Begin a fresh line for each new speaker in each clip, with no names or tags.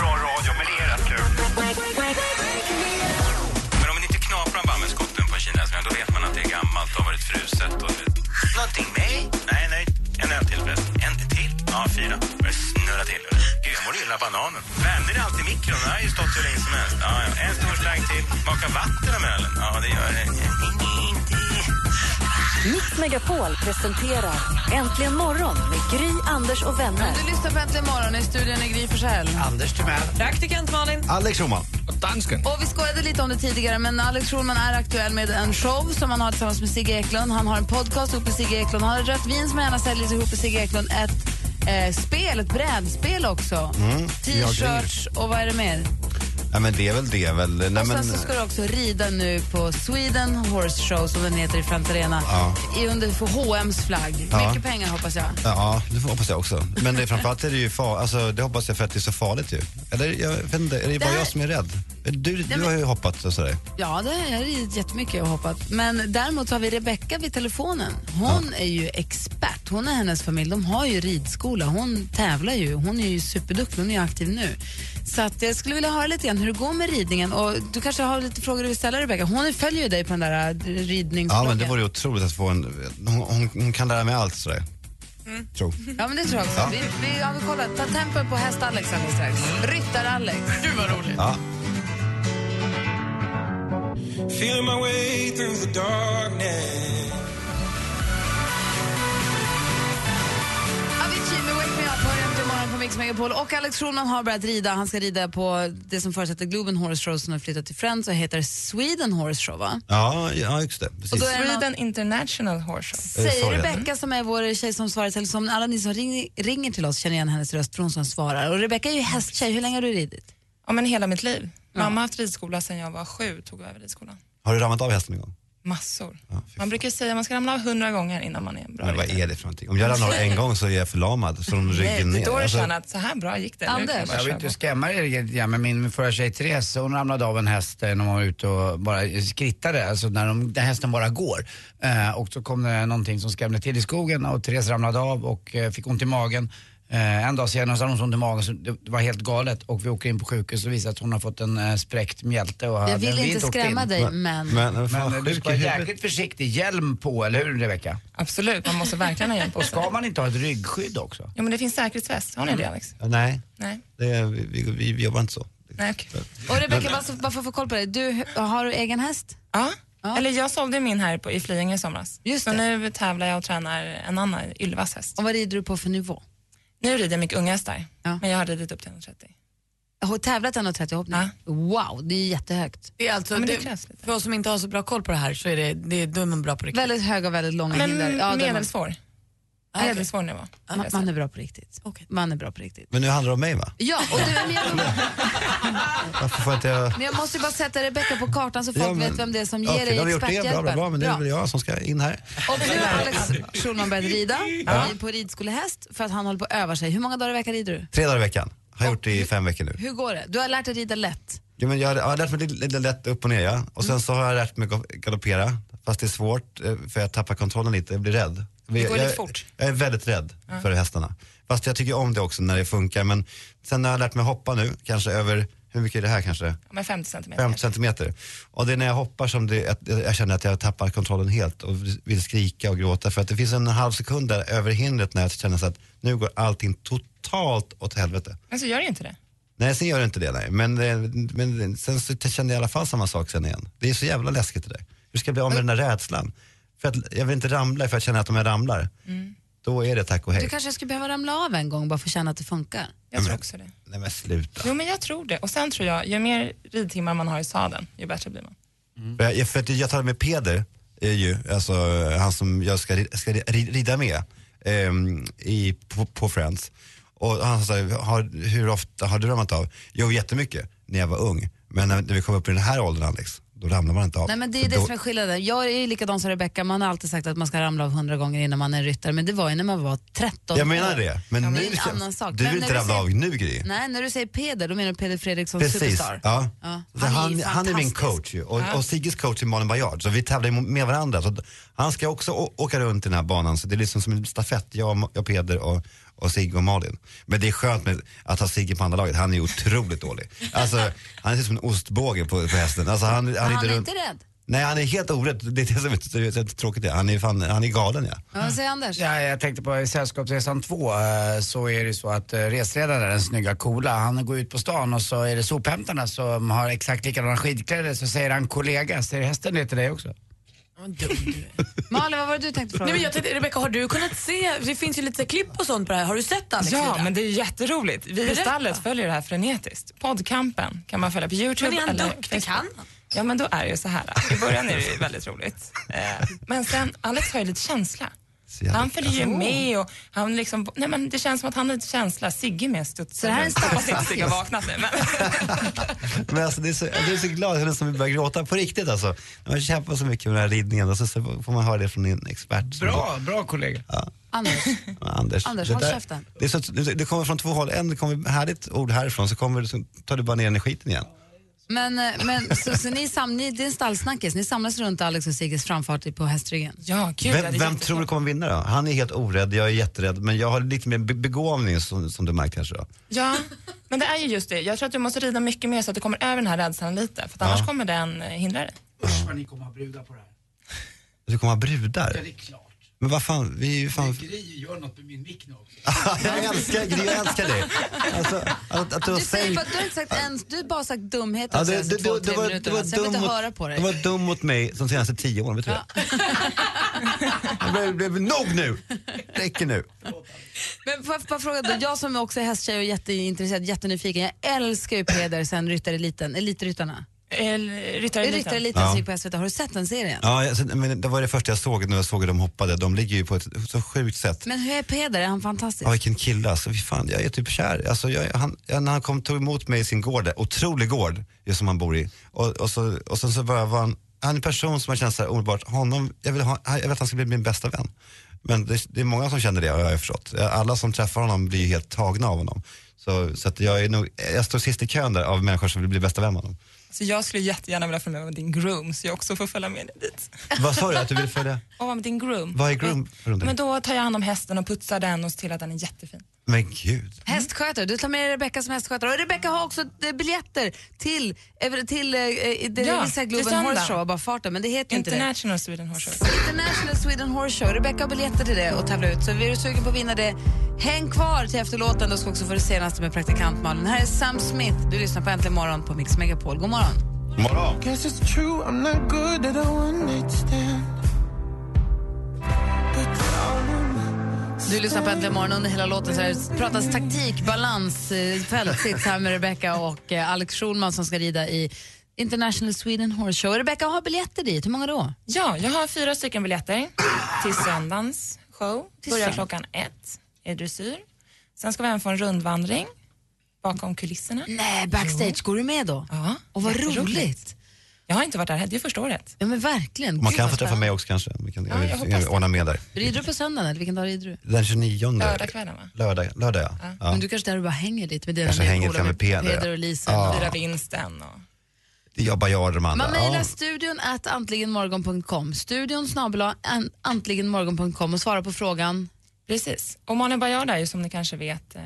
bra radio, men det är rätt kul. Men om man inte knaprar bambuskotten på kinesiska, då vet man att det är gammalt och har varit fruset. Och... Någonting med? Nej, nej. En öl till förresten. En till? Ja, fyra. Börjar snurra till. Gud, jag mår illa av bananen. Värmer det alltid i mikron? Den har ju stått hur länge som helst. Ja, ja. en stor slang till. Smaka vatten om ölen? Ja, det gör det.
Mix Megapol presenterar Äntligen morgon med Gry, Anders och vänner.
Du lyssnar på Äntligen morgon i studion i Gry Forssell.
Anders Timell.
Praktikant Malin.
Alex Roman.
Och vi skojade lite om det tidigare, men Alex Schulman är aktuell med en show som han har tillsammans med Sigge Eklund. Han har en podcast ihop med Sigge Eklund. Han har ett rött vin som han gärna säljer ihop med Sigge Eklund. Ett eh, spel, ett brädspel också. T-shirts och vad är det mer?
Mm. Nej, men det är väl det. är Väl. Nej,
och sen
men, eh,
så ska du också rida nu på Sweden Horse Show som den heter i Friends Arena.
Ja.
I under för H&M's flagg.
Ja.
Mycket pengar hoppas jag.
Ja, det får- hoppas jag också. Men det, är framförallt är det ju far, alltså, det hoppas jag för att det är så farligt ju. Eller jag vet inte, är det bara
här-
jag som är rädd? Du, du
men-
har ju hoppat och sådär.
Ja, det har jag ridit jättemycket och hoppat. Men däremot så har vi Rebecka vid telefonen. Hon är ju expert. Hon och hennes familj, de har ju ridskola. Hon tävlar ju. Hon är ju superduktig. Hon är ju aktiv nu. Så att jag skulle vilja höra lite grann hur det går med ridningen. Och du kanske har lite frågor du vill ställa Rebecka. Hon följer ju dig på den där eh,
Ja,
ridningsbloggen.
men det vore ju otroligt att få en... Hon, hon, hon kan lära mig allt sådär.
Mm.
Tro.
Ja, men det tror jag också.
Ja. Mm.
Vi, vi, ja, vi kollar. Ta tempen på häst-Alex alldeles strax. Ryttar-Alex.
Ja.
Avicii med Wake Me Up hör äntligen morgon på Mix Megapol. Och Alex Schulman har börjat rida. Han ska rida på det som förutsätter Globen Horse Show som har flyttat till Friends och heter Sweden Horse Show, va?
Ja, ja, just det. Precis.
är det någon-
Sweden International Horse Show.
Eh,
Säger
sorry,
Rebecka som är vår tjej som svarar, eller som alla ni som ring, ringer till oss känner igen hennes röst för hon som svarar. Och Rebecka är ju hästtjej, hur länge har du ridit?
Ja, men hela mitt liv. Mamma har haft ridskola sedan jag var sju, tog över ridskolan.
Har du ramlat av hästen en gång?
Massor.
fy fan.
man brukar säga att man ska ramla av hundra gånger innan man är en bra
Men vad
riddare.
är det för någonting? Om jag ramlar av en gång så är jag förlamad från ryggen
Det är
ner.
då du
Alltså,
känner att så här bra gick det. Nu kan
Anders.
bara
Jag vill
köra
inte
på.
skrämma er riktigt, ja, men min förra tjej Therese hon ramlade av en häst eh, när hon var ute och bara skrittade, alltså när, de, när hästen bara går. Eh, och så kom det någonting som skrämde till i skogen och Therese ramlade av och eh, fick ont i magen. Eh, en dag senare så hade hon så ont i magen så det, det var helt galet och vi åker in på sjukhus och visar att hon har fått en eh, spräckt mjälte. Och hade-
Jag vill
vi
inte
åkt
skrämma
in.
dig, men...
Men, men,
Men eh,
fan,
du
sjuk
ska vara
i huvudet.
jäkligt försiktig, hjälm på, eller hur Rebecka?
Absolut, man måste verkligen ha hjälp
Och
också.
ska man inte ha ett ryggskydd också?
Ja, men det finns säkerhetsväst. Har ni det Alex?
Ja, Nej,
Nej.
det är, vi, vi, vi vi jobbar inte så.
Nej, okej.
Och Rebecka, bara, så- bara för att få koll på dig, du, har du egen häst?
Ja.
Ja.
Eller jag sålde min här på, i Flyinge i somras.
Just
så
det.
nu tävlar jag och tränar en annan, Ylvas häst.
Och vad rider du på för nivå?
Nu rider jag mycket unga hästar,
Ja.
men jag har ridit upp till 130.
Har du tävlat 1,30 hoppning?
Ja.
Wow, det är ju jättehögt.
Det är alltså,
Ja, men det
det
krävs lite.
för oss som inte har så bra koll på det här så är det, det är, då är man bra på riktigt.
Väldigt höga, väldigt långa
Men
hinder. Ja, det är man,
medelsvår.
okej.
Medelsvår nivå.
man, man är bra på riktigt.
Okej.
Man är bra på riktigt.
Men nu handlar det om mig va?
Ja, och du, men, jag,
Varför får inte jag...
men jag måste ju bara sätta Rebecka på kartan så folk
Ja, men-
vet vem det är som ger
Okej,
dig
då har vi gjort det. Bra,
experthjälpen.
bra, bra. Men det
Bra.
är väl jag som ska in här.
Och nu har Alex Schulman börjat rida i- på ridskolehäst för att han håller på att öva sig. Hur många dagar i veckan rider du?
Tre dagar i veckan. Har gjort det i fem veckor nu.
Hur går det? Du har lärt dig rida lätt.
Ja, men jag har jag har lärt mig lite lite lätt upp och ner ja. Och
Mm.
sen så har jag lärt mig gal- galoppera. Fast det är svårt eh, för jag tappar kontrollen lite. Jag blir rädd. Det
går
jag,
lite fort.
Jag är väldigt rädd för hästarna. Fast jag tycker om det också när det funkar. Men sen när jag har lärt mig hoppa nu, kanske över, hur mycket är det här kanske?
Ja, men 50 centimeter.
50 centimeter. Och det är när jag hoppar som det, att jag känner att jag tappar kontrollen helt och vill skrika och gråta. För att det finns en halv sekund där över hindret när jag känner så att nu går allting totalt åt helvete.
Men så gör det inte det.
Nej, sen gör det inte det nej. Men, eh, men sen så kände jag i alla fall samma sak sen igen. Det är så jävla läskigt det där. Hur ska jag bli av med den där rädslan? För att jag vill inte ramla för jag känner att om jag ramlar,
Mm.
då är det tack och hej.
Du kanske skulle behöva ramla av en gång bara för att känna att det funkar.
Jag tror också det.
Nej men sluta.
Jo, men jag tror det. Och sen tror jag, ju mer ridtimmar man har i sadeln, ju bättre blir man.
För Jag, för att jag talade med Peder, eh, ju, alltså eh, han som jag ska, ri- ska ri- rida med ehm, i, på, på Friends. Och han sa, har, hur ofta har du ramlat av? Jo, jättemycket när jag var ung. Men när, när vi kom upp i den här åldern Alex, Då ramlar man inte av.
Nej, men det
För
är det
då,
som är skillnaden. Jag är ju likadan som Rebecca, man har alltid sagt att man ska ramla av hundra gånger innan man är ryttare, men det var ju när man var 13
jag
år.
menar det. Men
Ja, men
nu
det är en
känns-
annan sak.
Du
Men
vill
när
inte
du
ramla
ser-
av nu Gry.
Nej, när du säger Peder, då menar du Peder Fredriksson
Precis.
Superstar.
Ja. Så
är
Han,
ju
han är min
fantastisk.
coach ju. Och,
Ja.
och Sigges coach är Malin Baryard. Så vi tävlar ju med varandra. Så att han ska också å- åka runt i den här banan. Så det är liksom som en stafett, jag, och- jag Peder och, och Sigge och Malin. Men det är skönt med att ha Sigge på andra laget. Han är ju otroligt dålig. Alltså, han ser ut som en ostbåge på, på hästen. Alltså, han, han,
Men han
rider
är
runt.
inte rädd.
Nej, han är helt orädd. Det är det som är så, så tråkigt. Det. Han, är fan, han är galen ja.
Ja, vad säger Anders?
Ja, jag tänkte på i Sällskapsresan 2 eh, så är det ju så att eh, resledaren, den snygga coola, han går ut på stan och så är det sophämtarna som har exakt likadana skidkläder så säger han kollega, säger hästen det till dig också?
Malin, vad var det du tänkte fråga?
Nej, men jag tänkte, Rebecca, har du kunnat se, det finns ju lite klipp och sånt på det här. Har du sett Alex
Ja,
Rydar?
men det är jätteroligt. Vi i
Berätta.
stallet följer det här frenetiskt. Poddkampen kan man följa på Youtube.
Men är han
eller
duktig?
Facebook.
Kan han?
Ja, men då är det ju så här. I början är det ju väldigt roligt. Eh, Men sen, Alex har ju lite känsla.
Så jävla-
Han följer ju med och han liksom, nej men det känns som att han har lite känsla. Sigge är med studsar
det här är en
runt. Jag hoppas inte
startplats.
Sigge har vaknat nu. Men
Men alltså, det är så, det är så glad jag är nästan börjar gråta på riktigt alltså. När man kämpar så mycket med den här ridningen och så, så får man höra det från en expert. som-
Bra, bra kollega.
Anders,
Anders,
Anders,
det
håll
där-
käften.
Det, är så, att- det, det kommer från två håll. En det kommer härligt ord härifrån så, kommer, det- så tar du bara ner den i skiten igen.
men, eh, men så, så ni, sam, ni, det är en stallsnackis, ni samlas runt Alex och Sigges framfart i- på hästryggen.
ja, gud, det är
Vem, vem
jättekul.
tror du kommer vinna då? Han är helt orädd, jag är jätterädd. Men jag har lite mer be- begåvning som, som du märkt kanske då.
Ja, men det är ju just det. Jag tror att du måste rida mycket mer så att du kommer över den här rädslan lite. För att annars kommer den eh, hindra dig.
Usch vad ni kommer ha brudar på det här.
Du kommer ha brudar.
är klart.
Men vad fan, vi är ju fan...
Gry gör något med min mick nu också.
jag älskar Gry, jag älskar dig. Alltså, att, att du har
Du, säger,
sänkt-
bara- du har inte sagt ens, du har bara sagt dumheter
Ja,
de
det,
senaste
det,
två,
det,
tre
det, var, det,
minuterna,
var
så jag vill
dum
inte
mot,
höra på
det
dig.
var dum mot mig de senaste tio åren, vet du det? Jag blev, blev nog nu! Räcker nu.
Men får jag bara fråga då, jag som också är hästtjej och jätteintresserad, jättenyfiken, jag älskar ju Peder sen Ryttareliten, eh, Elitryttarna.
Eller Ryttareliten.
Ryttareliten
Ja.
som gick på SVT, har du sett den serien?
Ja, alltså, men det var det första jag såg när jag såg hur de hoppade. De ligger ju på ett så sjukt sätt.
Men hur är Peder, är han fantastisk?
Ja, vilken kille alltså. Fy fan, jag är typ kär. Alltså, jag, han, ja, när han kom, tog emot mig i sin gård, där, otrolig gård just som han bor i. Och, och, så, och sen så bara var han, han är en person som man känner så här omedelbart, honom, jag vill, ha, jag vill att han ska bli min bästa vän. Men det, det är många som känner det har jag ju förstått. Alla som träffar honom blir ju helt tagna av honom. Så, så att jag, är nog, jag står sist i kön där av människor som vill bli bästa vän med honom.
Så jag skulle jättegärna vilja följa med din groom så jag också får följa med dig dit.
Vad sa du att du ville följa?
Och vara med din groom.
Vad är groom? för någonting?
Men då tar jag hand om hästen och putsar den och ser till att den är jättefin.
Men gud.
Mm. Hästskötare, du tar med dig Rebecca som hästskötare. Och Rebecca har också eh, biljetter till, eh, till eh, eh, det
Ja,
ja, vill säga
till
Globen
söndag.
Horse Show, bara farten, men det heter ju inte det.
International Sweden Horse Show.
International Sweden Horse Show. Rebecca har biljetter till det och tävla ut. Så är du sugen på att vinna det, häng kvar till efterlåten. Då ska vi också få det senaste med praktikant Malin. Här är Sam Smith. Du lyssnar på Äntligen morgon på Mix Megapol. God morgon.
Morgon.
Guess it's true, I'm not good at a one night stand.
Du lyssnar på Äntligen morgon. Under hela låten så här pratas taktik, balans, eh, fältsits här med Rebecca och eh, Alex Schulman som ska rida i International Sweden Horse Show. Rebecca har biljetter dit. Hur många då?
Ja, jag har fyra stycken biljetter till söndagens show. Börjar klockan ett, är dressyr. Sen ska vi även få en rundvandring bakom kulisserna.
Nej, backstage. Går du med då?
Ja,
Och vad
jätteroligt.
roligt.
Jag har inte varit där heller, det är första året.
Ja, men verkligen.
Man
Gud,
kan
vad
få träffa
spännande.
mig också kanske. Vi kan,
jag
jag vill,
hoppas det.
ordna med där.
Rider du på söndagen eller vilken dag rider du?
Den 29.
Lördagskvällen, va?
Lördag, lördag ja. ja.
Men du kanske där du bara hänger lite med dina
Kanske hänger lite
polare,
med Peder, ja.
Peder och Lisa.
Fira vinsten och...
Det jobbar jag och de andra.
Man mejlar
Ja.
studion at antligenmorgon.com. Studion snabbla antligenmorgon.com och svarar på frågan.
Precis. Och Malin Baryard är ju som ni kanske vet, eh,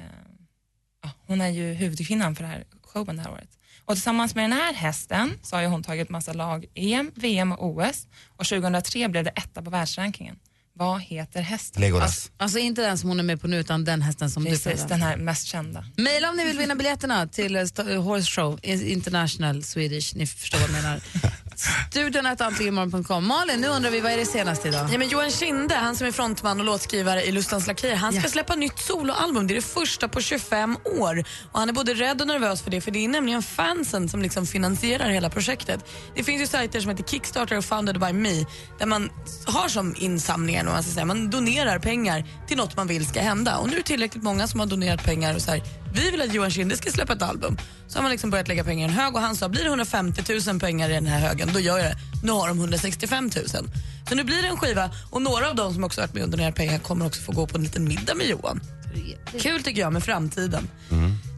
ja, hon är ju huvudkvinnan för den här showen det här året. Och tillsammans med den här hästen så har ju hon tagit massa lag EM, VM och OS och 2003 blev det etta på världsrankingen. Vad heter hästen?
Legolas.
Alltså inte den som hon är med på nu utan den hästen som du
Precis,
pratar
den här mest kända.
Mejla om ni vill vinna biljetterna till eh, St- Horse Show eh, International Swedish. Ni förstår vad jag menar. Studion at antligenmorgon.com. Malin, nu undrar vi vad är det senaste idag?
Ja, men Johan Kinde, han som är frontman och låtskrivare i Lustans Lakejer, han ska
Ja.
släppa nytt soloalbum. Det är det första på 25 år. Och Han är både rädd och nervös för det, för det är nämligen fansen som liksom finansierar hela projektet. Det finns ju sajter som heter Kickstarter och Founded by Me där man har som insamlingar, eller vad man, ska säga. man donerar pengar till något man vill ska hända. Och nu är det tillräckligt många som har donerat pengar och så här, vi vill att Johan Kinde ska släppa ett album. Så har man liksom börjat lägga pengar i en hög och han sa blir det 150 000 pengar i den här högen, då gör jag det. Nu har de 165 000. Så nu blir det en skiva och några av de som också varit med och donerat pengar kommer också få gå på en liten middag med Johan. Kul tycker jag med framtiden.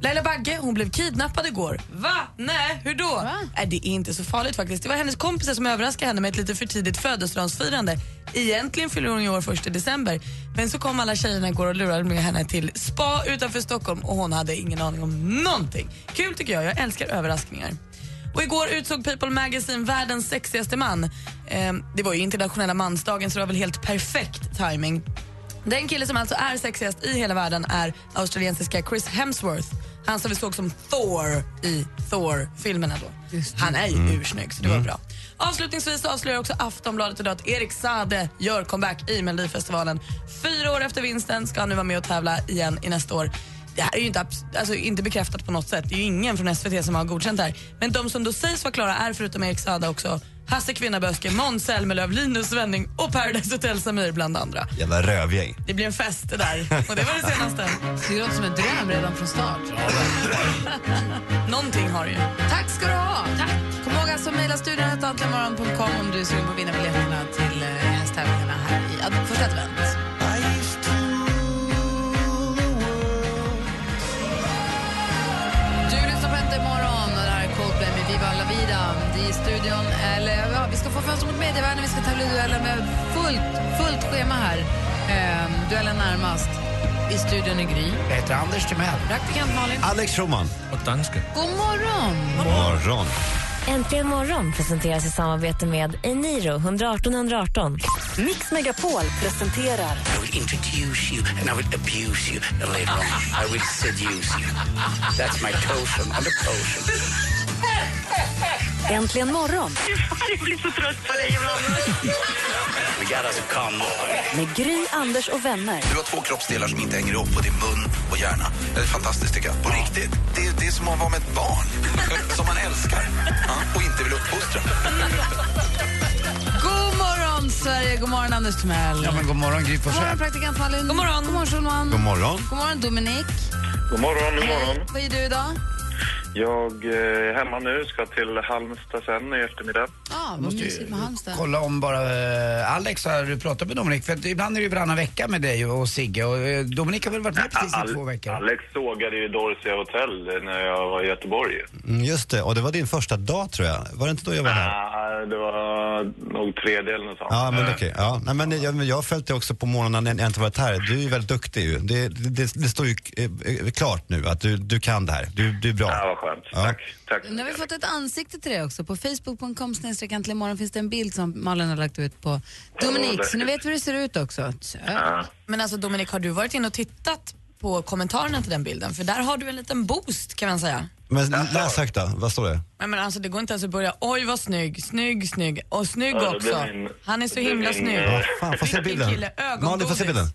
Laila Bagge hon blev kidnappad igår. Va? Nej, hur då? Nej, det är inte så farligt faktiskt. Det var hennes kompisar som överraskade henne med ett lite för tidigt födelsedagsfirande. Egentligen fyller hon i år först i december. Men så kom alla tjejerna igår och lurade med henne till spa utanför Stockholm och hon hade ingen aning om någonting. Kul tycker jag, jag älskar överraskningar. Och igår utsåg People Magazine världens sexigaste man. Eh, det var ju internationella mansdagen så det var väl helt perfekt timing. Den kille som alltså är sexigast i hela världen är australiensiska Chris Hemsworth. Han som vi såg som Thor i Thor-filmerna då. Han är ju ursnygg så det var bra. Avslutningsvis avslöjar också Aftonbladet idag att Erik Sade gör comeback i Melodifestivalen. Fyra år efter vinsten ska han nu vara med och tävla igen i nästa år det här är ju inte, abs- alltså, inte bekräftat på något sätt. Det är ju ingen från SVT som har godkänt det här. Men de som då sägs vara klara är förutom Erik Saade också Hasse Kvinnaböske, Måns Zelmerlöw, Linus Svenning och Paradise Hotel Samir bland andra.
Jävla rövgäng.
Det blir en fest det där. Och det var det senaste.
Det låter som en dröm redan från start.
Någonting har det ju.
Tack ska du ha. Tack. Kom ihåg alltså mejla studion äntligenmorgon.com om du är sugen på att vinna biljetterna till eh, hästtävlingarna här i ad- första advent. Du lyssnar på Äntligen morgon och det här är Coldplay med Viva La Vida. Det är i studion, eller ja, vi ska få fönster mot medievärlden, vi ska tävla i duellen med fullt, fullt schema här. Ehm, duellen närmast. I studion i Gry.
Jag heter Anders Timell.
Praktikant Malin.
Alex Schulman.
God morgon!
Morgon.
Äntligen morgon presenteras i samarbete med Eniro 118 118. Mix Megapol presenterar
I will introduce you and I will abuse you. And later on, I will seduce you. That's my potion. I'm a potion.
Äntligen morgon
We got us a combo.
med Gry, Anders och vänner.
Du har två kroppsdelar som inte hänger ihop och det är mun och hjärna. Det är fantastiskt tycker jag. På riktigt. Det, är- det är som att vara med ett barn. som man älskar. Ja, och inte vill uppfostra.
God morgon, Sverige! God morgon, Anders Timell.
Ja, men god morgon Gry
God morgon,
Forssell.
praktikant Malin. God morgon. God morgon, Schulman.
God morgon.
God morgon, Dominik.
God morgon, god morgon.
Vad gör du idag?
Jag eh, är hemma nu, ska till Halmstad sen i eftermiddag.
Ja, vad
Måste
mysigt
ju
med Halmstad.
kolla om bara eh, Alex har du pratat med Dominik? För att ibland är det ju varannan vecka med dig och Sigge och eh, Dominik har väl varit med precis i två veckor?
Alex sågade ju Dorsia Hotel när jag var i Göteborg.
Mm, just det, och det var din första dag tror jag. Var det inte då jag var här?
Ah, det var nog tredje eller något sånt.
Ja, men okej. Ja. Nej, men jag, men jag har följt dig också på morgonen när jag inte varit här. Du är ju väldigt duktig ju. Det, det, det står ju eh, klart nu att du, du kan det här. Du, du är bra.
Ah, vad skönt.
Ja.
Tack. Tack.
Nu har vi fått ett ansikte till det också. På facebook.com snedstreck äntligen morgon finns det en bild som Malin har lagt ut på Dominik, så nu vet vi hur det ser ut också. Så.
Men alltså Dominik, har du varit inne och tittat på kommentarerna till den bilden? För där har du en liten boost kan man säga.
Men läs högt då. Vad står det?
Nej, men alltså det går inte ens att börja, oj vad snygg, snygg, snygg och snygg
Ja, det blir
också.
min-
Han är så
det blir
himla
min,
snygg.
eh,
Ja, fan, får jag se
Vilken
bilden?
kille, ögongodis.
Malin, får jag se bilden?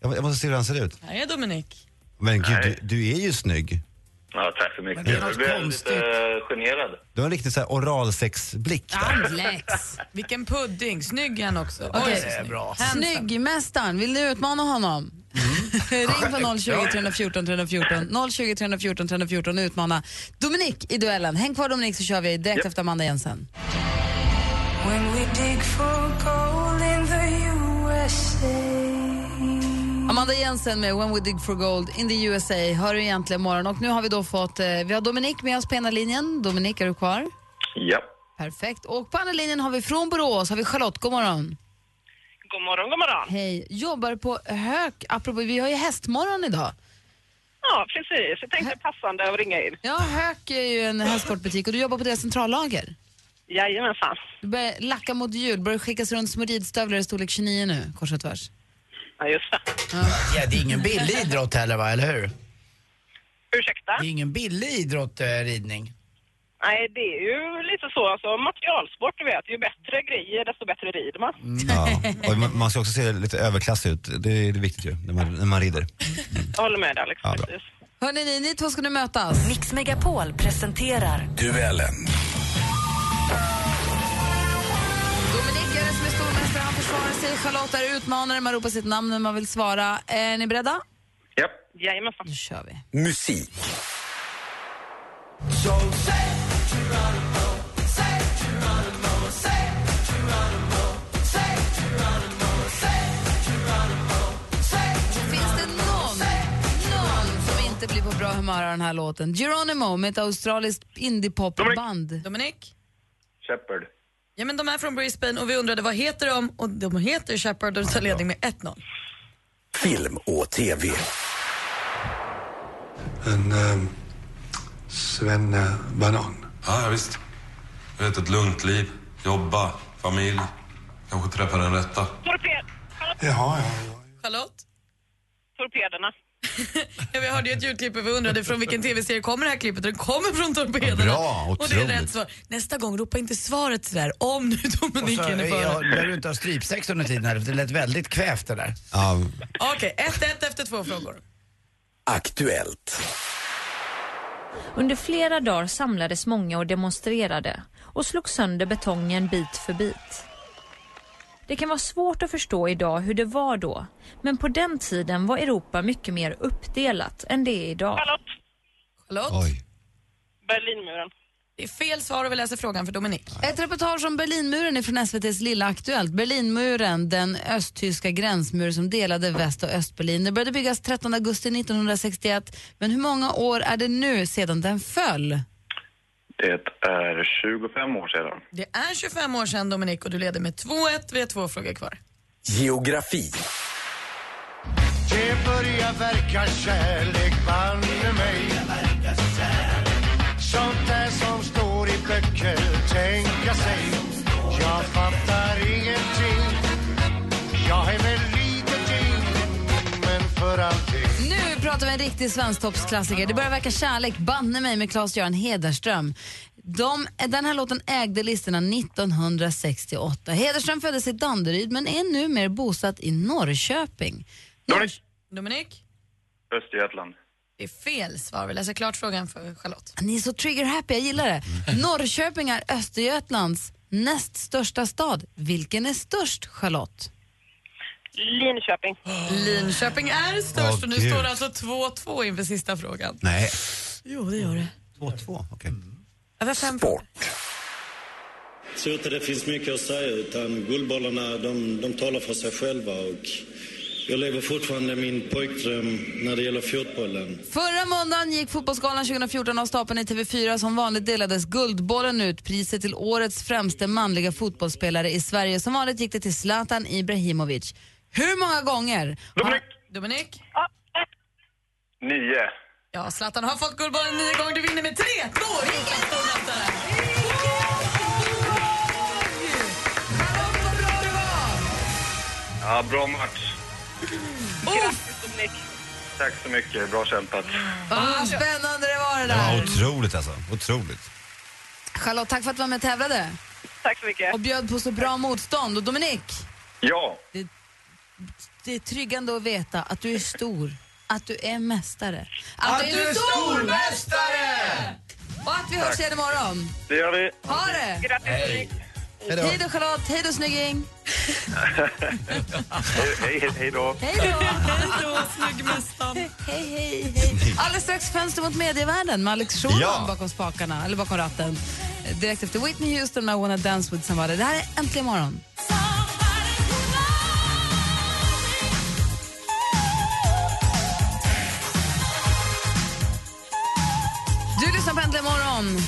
Jag, jag måste se hur han ser ut.
Här är Dominik.
Men gud, du,
Nej.
du är ju snygg.
Ja, tack så mycket.
Men det är
Jag
något
blev
konstigt.
lite eh, generad.
Du har en riktig så här oralsexblick där.
Ah,
Alex!
Vilken pudding, snygg är han också.
Okej.
så snygg.
Bra.
Handsome.
Snyggmästaren, vill du utmana honom?
Mm.
Ring på 020 314 314 020 314 314 och utmana Dominik i duellen. Häng kvar Dominik så kör vi direkt efter Amanda Jensen. Amanda Jensen med When We Dig For Gold in the USA hör du egentligen imorgon och nu har vi då fått, eh, vi har Dominik med oss på ena linjen. Dominik, är du kvar?
Ja.
Perfekt. Och på andra linjen har vi från Borås har vi Charlotte, god morgon.
God morgon, god morgon.
Hej, jobbar på Hök, apropå, vi har ju hästmorgon idag.
Ja, precis. Jag tänkte passande att ringa in.
Ja, Hök är ju en hästsportbutik och du jobbar på deras centrallager.
Jajamensan.
Du börjar lacka mot jul, börjar skickas runt små ridstövlar i storlek 29 nu, kors och tvärs.
Ja, just det.
Ja, det är ingen billig idrott heller va, eller hur?
Ursäkta?
Det är ingen billig idrott, eh, ridning.
Nej, det är ju lite så. Alltså, materialsport, du vet. Ju bättre grejer, desto bättre rider man.
Ja. Och man, man ska också se lite överklassig ut. Det är det är viktigt ju, när man, när man rider.
Jag håller med dig, Alex.
Ja, bra.
precis.
Hörrni, ni, ni två ska nu mötas.
Mix Megapol presenterar
Duellen.
Dominik är den som är stormästare, han försvarar sig. Charlotte är utmanare, man ropar sitt namn när man vill svara. Är ni beredda?
Japp.
Jajamensan.
Då kör vi.
Musik.
Finns det någon, någon som inte blir på bra humör av den här låten? Geronimo med ett australiskt indiepopband.
Dominic?
Shepard.
Ja, men de är från Brisbane och vi undrade vad heter de och de heter Shepard och tar ledning med 1-0.
Film och TV.
En
ehm,
um, svennebanan.
Ja, visst. Jag vet, ett lugnt liv. Jobba, familj. Kanske träffa den rätta.
Torped.
Jaha, ja.
Charlotte?
Torpederna.
ja, vi hörde ju ett ljudklipp och vi undrade från vilken tv-serie kommer det här klippet och det kommer från Torpederna.
Bra,
ah,
och det är
otroligt.
rätt svar. Nästa gång, ropa inte svaret sådär om nu
Och
Dominic
så,
är inne på
ja,
det.
lär du inte ha strypsex under tiden här, för det lät väldigt kvävt det där.
Ja.
Okej, 1-1 efter två frågor.
Aktuellt.
Under flera dagar samlades många och demonstrerade och slog sönder betongen bit för bit. Det kan vara svårt att förstå idag hur det var då, men på den tiden var Europa mycket mer uppdelat än det är idag.
Charlotte?
Oj.
Berlinmuren.
Det är fel svar och vi läser frågan för Dominic.
Ett reportage om Berlinmuren är från SVTs Lilla Aktuellt. Berlinmuren, den östtyska gränsmur som delade Väst och Östberlin. Den började byggas 13 augusti 1961, men hur många år är det nu sedan den föll?
Det är 25 år sedan.
Det är 25 år sedan Dominic och du leder med 2-1. Vi har två frågor kvar.
Geografi.
Det börjar verka kärlek banne mig Sånt där som står i böcker tänka sig Jag fattar ingenting Jag är väl lite till men för allting
Nu pratar vi en riktig svensktoppsklassiker. Det börjar verka kärlek, banne mig med Claes-Göran Hederström. De, den här låten ägde listorna 1968. Hederström föddes i Danderyd men är numera bosatt i Norrköping.
Dominic? Dominic?
Östergötland.
Det är fel svar. Vi läser klart frågan för Charlotte. Mm.
Ni är så trigger-happy, jag gillar det. Norrköping är Östergötlands näst största stad. Vilken är störst, Charlotte?
Linköping.
Linköping är störst
Åh,
och nu
Gud.
står det alltså 2-2 inför sista frågan.
Nej.
Jo, det gör det.
2-2, okej.
Sport.
Jag tror inte det finns mycket att säga utan Guldbollarna de, de talar för sig själva och jag lever fortfarande min pojkdröm när det gäller fotbollen.
Förra måndagen gick Fotbollsgalan 2014 av stapeln i TV4. Som vanligt delades Guldbollen ut, priset till årets främste manliga fotbollsspelare i Sverige. Som vanligt gick det till Zlatan Ibrahimovic. Hur många gånger? Dominic.
Dominic?
Nio.
Ja, Zlatan har fått Guldbollen nio gånger. Du vinner med 3-2! Vilken stor mästare!
Ja, bra match.
Grattis, Dominic.
Tack så mycket. Bra kämpat.
Ah, vad spännande det var det
Det var
där.
otroligt alltså. Otroligt.
Charlotte, tack för att du var med och tävlade.
Tack så mycket.
Och bjöd på så bra motstånd. Och Dominic,
Ja.
det är tryggande att veta att du är stor, att du är mästare. Att, Och att vi hörs
Tack.
igen imorgon.
Det gör vi.
Ha det!
Hej. Hej då.
Hej då Charlotte, hej då snygging.
hej, hej, hej då.
Hej då! hej då snyggmästaren. Hej, hej, hej. Alldeles strax Fönster mot medievärlden med Alex Schulman
Ja.
bakom spakarna, eller bakom ratten. Direkt efter Whitney Houston med I wanna dance with somebody. Det här är Äntligen morgon. Du lyssnar på Äntligen morgon.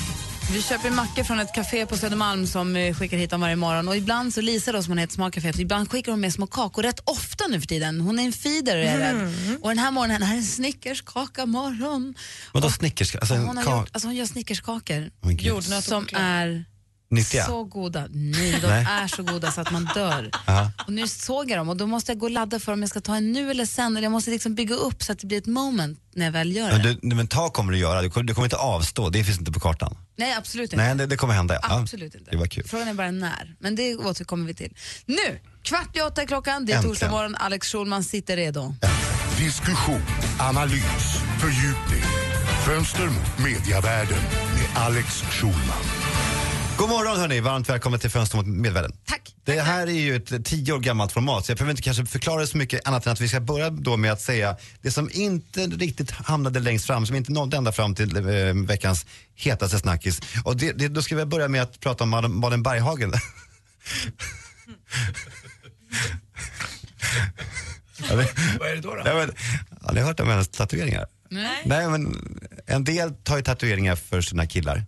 Vi köper mackor från ett café på Södermalm som eh, skickar hit dem varje morgon. Och ibland så Lisa då, som hon heter, smakcaféet, ibland skickar hon med små kakor rätt ofta nu för tiden. Hon är en feeder är jag rädd.
Mm.
Och den här morgonen, det här är en snickerskaka morgon.
Vadå snickerska? Alltså, en
Hon, har
ka-
gjort, alltså hon gör snickerskakor.
Men gud.
Jordnöt och som är
Nyttiga?
så goda. Nej, de
Nej.
är så goda så att man dör.
Ja.
Och nu såg jag dem och då måste jag gå och ladda för om jag ska ta en nu eller sen. Eller jag måste liksom bygga upp så att det blir ett moment när jag väl gör det.
Men, du, nej, men ta kommer du göra. Du kommer, du kommer inte avstå. Det finns inte på kartan.
Nej, absolut inte.
Nej, det, det kommer hända. Ja.
Absolut inte.
Det var kul.
Frågan är bara när, men det återkommer vi till. Nu, kvart i åtta är klockan, det är
Äntligen.
torsdag morgon, Alex Schulman sitter redo.
Diskussion, analys, fördjupning. Fönster mot mediavärlden med Alex Schulman.
God morgon hörni. Varmt välkommen till Fönster mot medvärlden.
Tack.
Det här är ju ett tio år gammalt format så jag behöver inte kanske förklara det så mycket annat än att vi ska börja då med att säga det som inte riktigt hamnade längst fram, som inte nådde ända fram till eh, veckans hetaste snackis. Och det, det, då ska vi börja med att prata om Malin- Malin Berghagen. Vad är det då? då? Ja, men, har ni hört om hennes tatueringar?
Nej.
Nej, men en del tar ju tatueringar för sina killar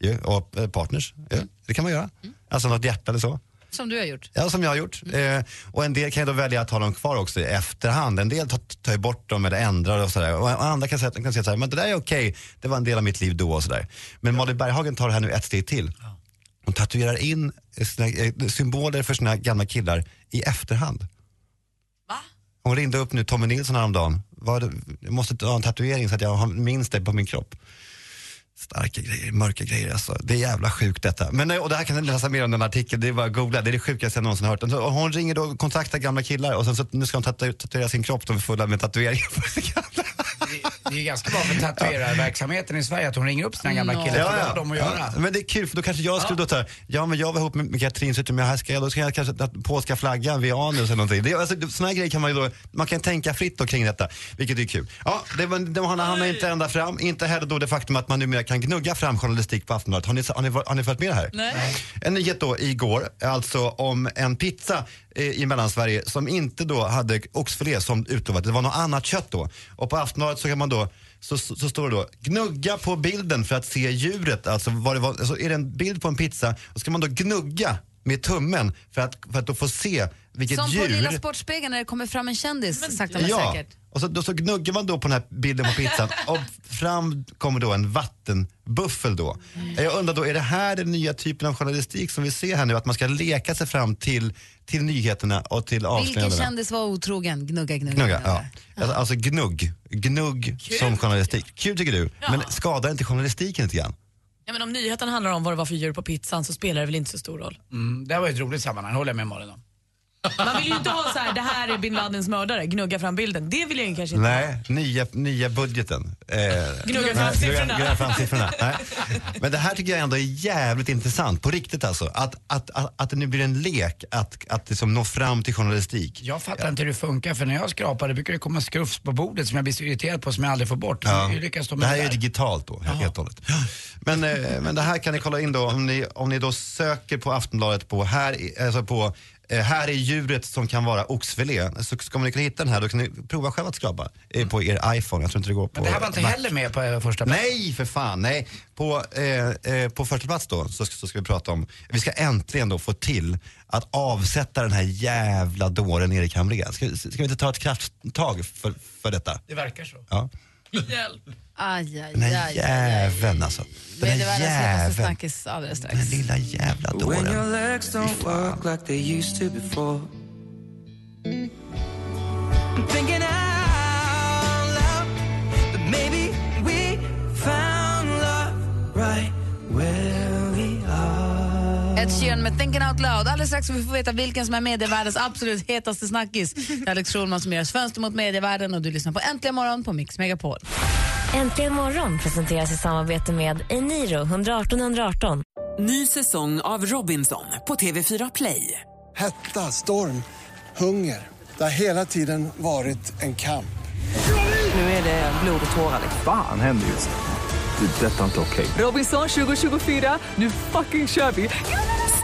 ju, och eh, partners. Ju. Det kan man göra.
Mm.
Alltså något hjärta eller så.
Som du har gjort.
Ja, som jag har gjort. Eh, och en del kan ju då välja att ha dem kvar också i efterhand. En del tar, tar ju bort dem eller ändrar och sådär. Och och andra kan säga, kan säga såhär, men det där är okej, det var en del av mitt liv då och sådär. Men Malin Berghagen tar det här nu ett steg till. Hon tatuerar in eh, sina, eh, symboler för sina gamla killar i efterhand. Hon ringde upp nu Tommy Nilsson häromdagen. Vad, jag måste ta en tatuering så att jag har- minns det på min kropp. Starka grejer, mörka grejer alltså. Det är jävla sjukt detta. Men, eh, och det här kan ni läsa mer om i den här artikeln, det är bara att googla. Det är det sjukaste jag någonsin hört. Och Hon ringer då och kontaktar gamla killar och sen så nu ska hon tatu- tatuera sin kropp, de är fulla med tatueringar.
Det är ju ganska bra för tatuerarverksamheten i Sverige att hon ringer upp sina gamla killar.
Ja,
för det
ja.
har de att göra.
Ja, men det är kul för då kanske jag skulle då ta, ja men jag var ihop med, med Katrin så tyckte jag, här ska jag, då ska jag kanske ta polska flaggan vid anus eller någonting. Det, är- alltså, såna här grejer kan man ju då, man kan tänka fritt då kring detta, vilket är kul. Ja, det var, det var, han hamnar inte ända fram, inte heller då det faktum att man numera kan gnugga fram journalistik på Aftonbladet. Har ni, har ni, har ni följt med det här?
Nej.
En nyhet då igår, alltså om en pizza eh, i Mellansverige som inte då hade oxfilé som utlovat. Det var något annat kött då. Och på Aftonbladet så kan man då så, så så står det då, gnugga på bilden för att se djuret. Alltså, vad det var, alltså är det en bild på en pizza, då ska man då gnugga med tummen för att, för att då få se vilket
Som på
djur.
Lilla Sportspegeln när det kommer fram en kändis, sakta men
ja,
säkert.
och så, då, så gnuggar man då på den här bilden på pizzan och fram kommer då en vattenbuffel då. Jag undrar då, är det här den nya typen av journalistik som vi ser här nu? Att man ska leka sig fram till, till nyheterna och till
Vilken
avslöjandena?
kändis var otrogen? Gnugga, gnugga.
Gnugga, ja. Alltså, alltså gnugg. Gnugg som journalistik. Kul tycker du, men skadar inte journalistiken lite grann?
Ja, men om nyheten handlar om vad det var för djur på pizzan så spelar det väl inte så stor roll.
Mm, det här var ju ett roligt sammanhang, håller jag med Malin om.
Man vill ju inte ha så här, det här är bin Ladins mördare, gnugga fram bilden. Det vill jag ju kanske inte
Nej, nya, nya budgeten. Eh,
Gnugga fram
nej,
siffrorna.
gnugga fram siffrorna. Nej. Men det här tycker jag ändå är jävligt intressant, på riktigt alltså. Att, att, att, att det nu blir en lek att, att liksom nå fram till journalistik.
Jag fattar inte hur det funkar för när jag skrapar det brukar det komma skrufs på bordet som jag blir så irriterad på som jag aldrig får bort.
Ja.
Hur lyckas de
Det
med
här
det
är ju
där?
digitalt då, helt och hållet. Men, eh, men det här kan ni kolla in då om ni, om ni då söker på Aftonbladet på här, i- alltså på eh, här är djuret som kan vara oxfilé. Så kommer ni kunna hitta den här, då kan ni prova själva att skrapa eh, på er iPhone. Jag tror inte det går på
Men det här var inte
Mac.
heller med på eh, första plats.
Nej, för fan. Nej. På, eh, eh, på första plats då så, ska- så ska vi prata om, vi ska äntligen då få till att avsätta den här jävla dåren Erik Hamrén. Ska, ska vi inte ta ett krafttag för, för detta?
Det verkar så.
Ja.
Hjälp.
Aj, aj,
Den
aj.
här
aj, aj.
jäveln alltså. Den
Blir det
här
världens hetaste
jäveln.
snackis alldeles strax.
Den lilla jävla dåren.
Thinking out loud that maybe we found love right where we are.
Ed Sheeran med Thinking Out Loud. Alldeles strax får vi få veta vilken som är medievärldens absolut hetaste snackis. Det är Alex Schulman som gör fönster mot medievärlden och du lyssnar på Äntligen morgon på Mix Megapol.
Äntligen morgon presenteras i samarbete med Eniro 118 118.
Ny säsong av Robinson på TV4 Play.
Hetta, storm, hunger. Det har hela tiden varit en kamp.
Nu är det blod och tårar. liksom.
Fan händer just det. Det är detta inte okej.
Robinson 2024, nu fucking kör vi!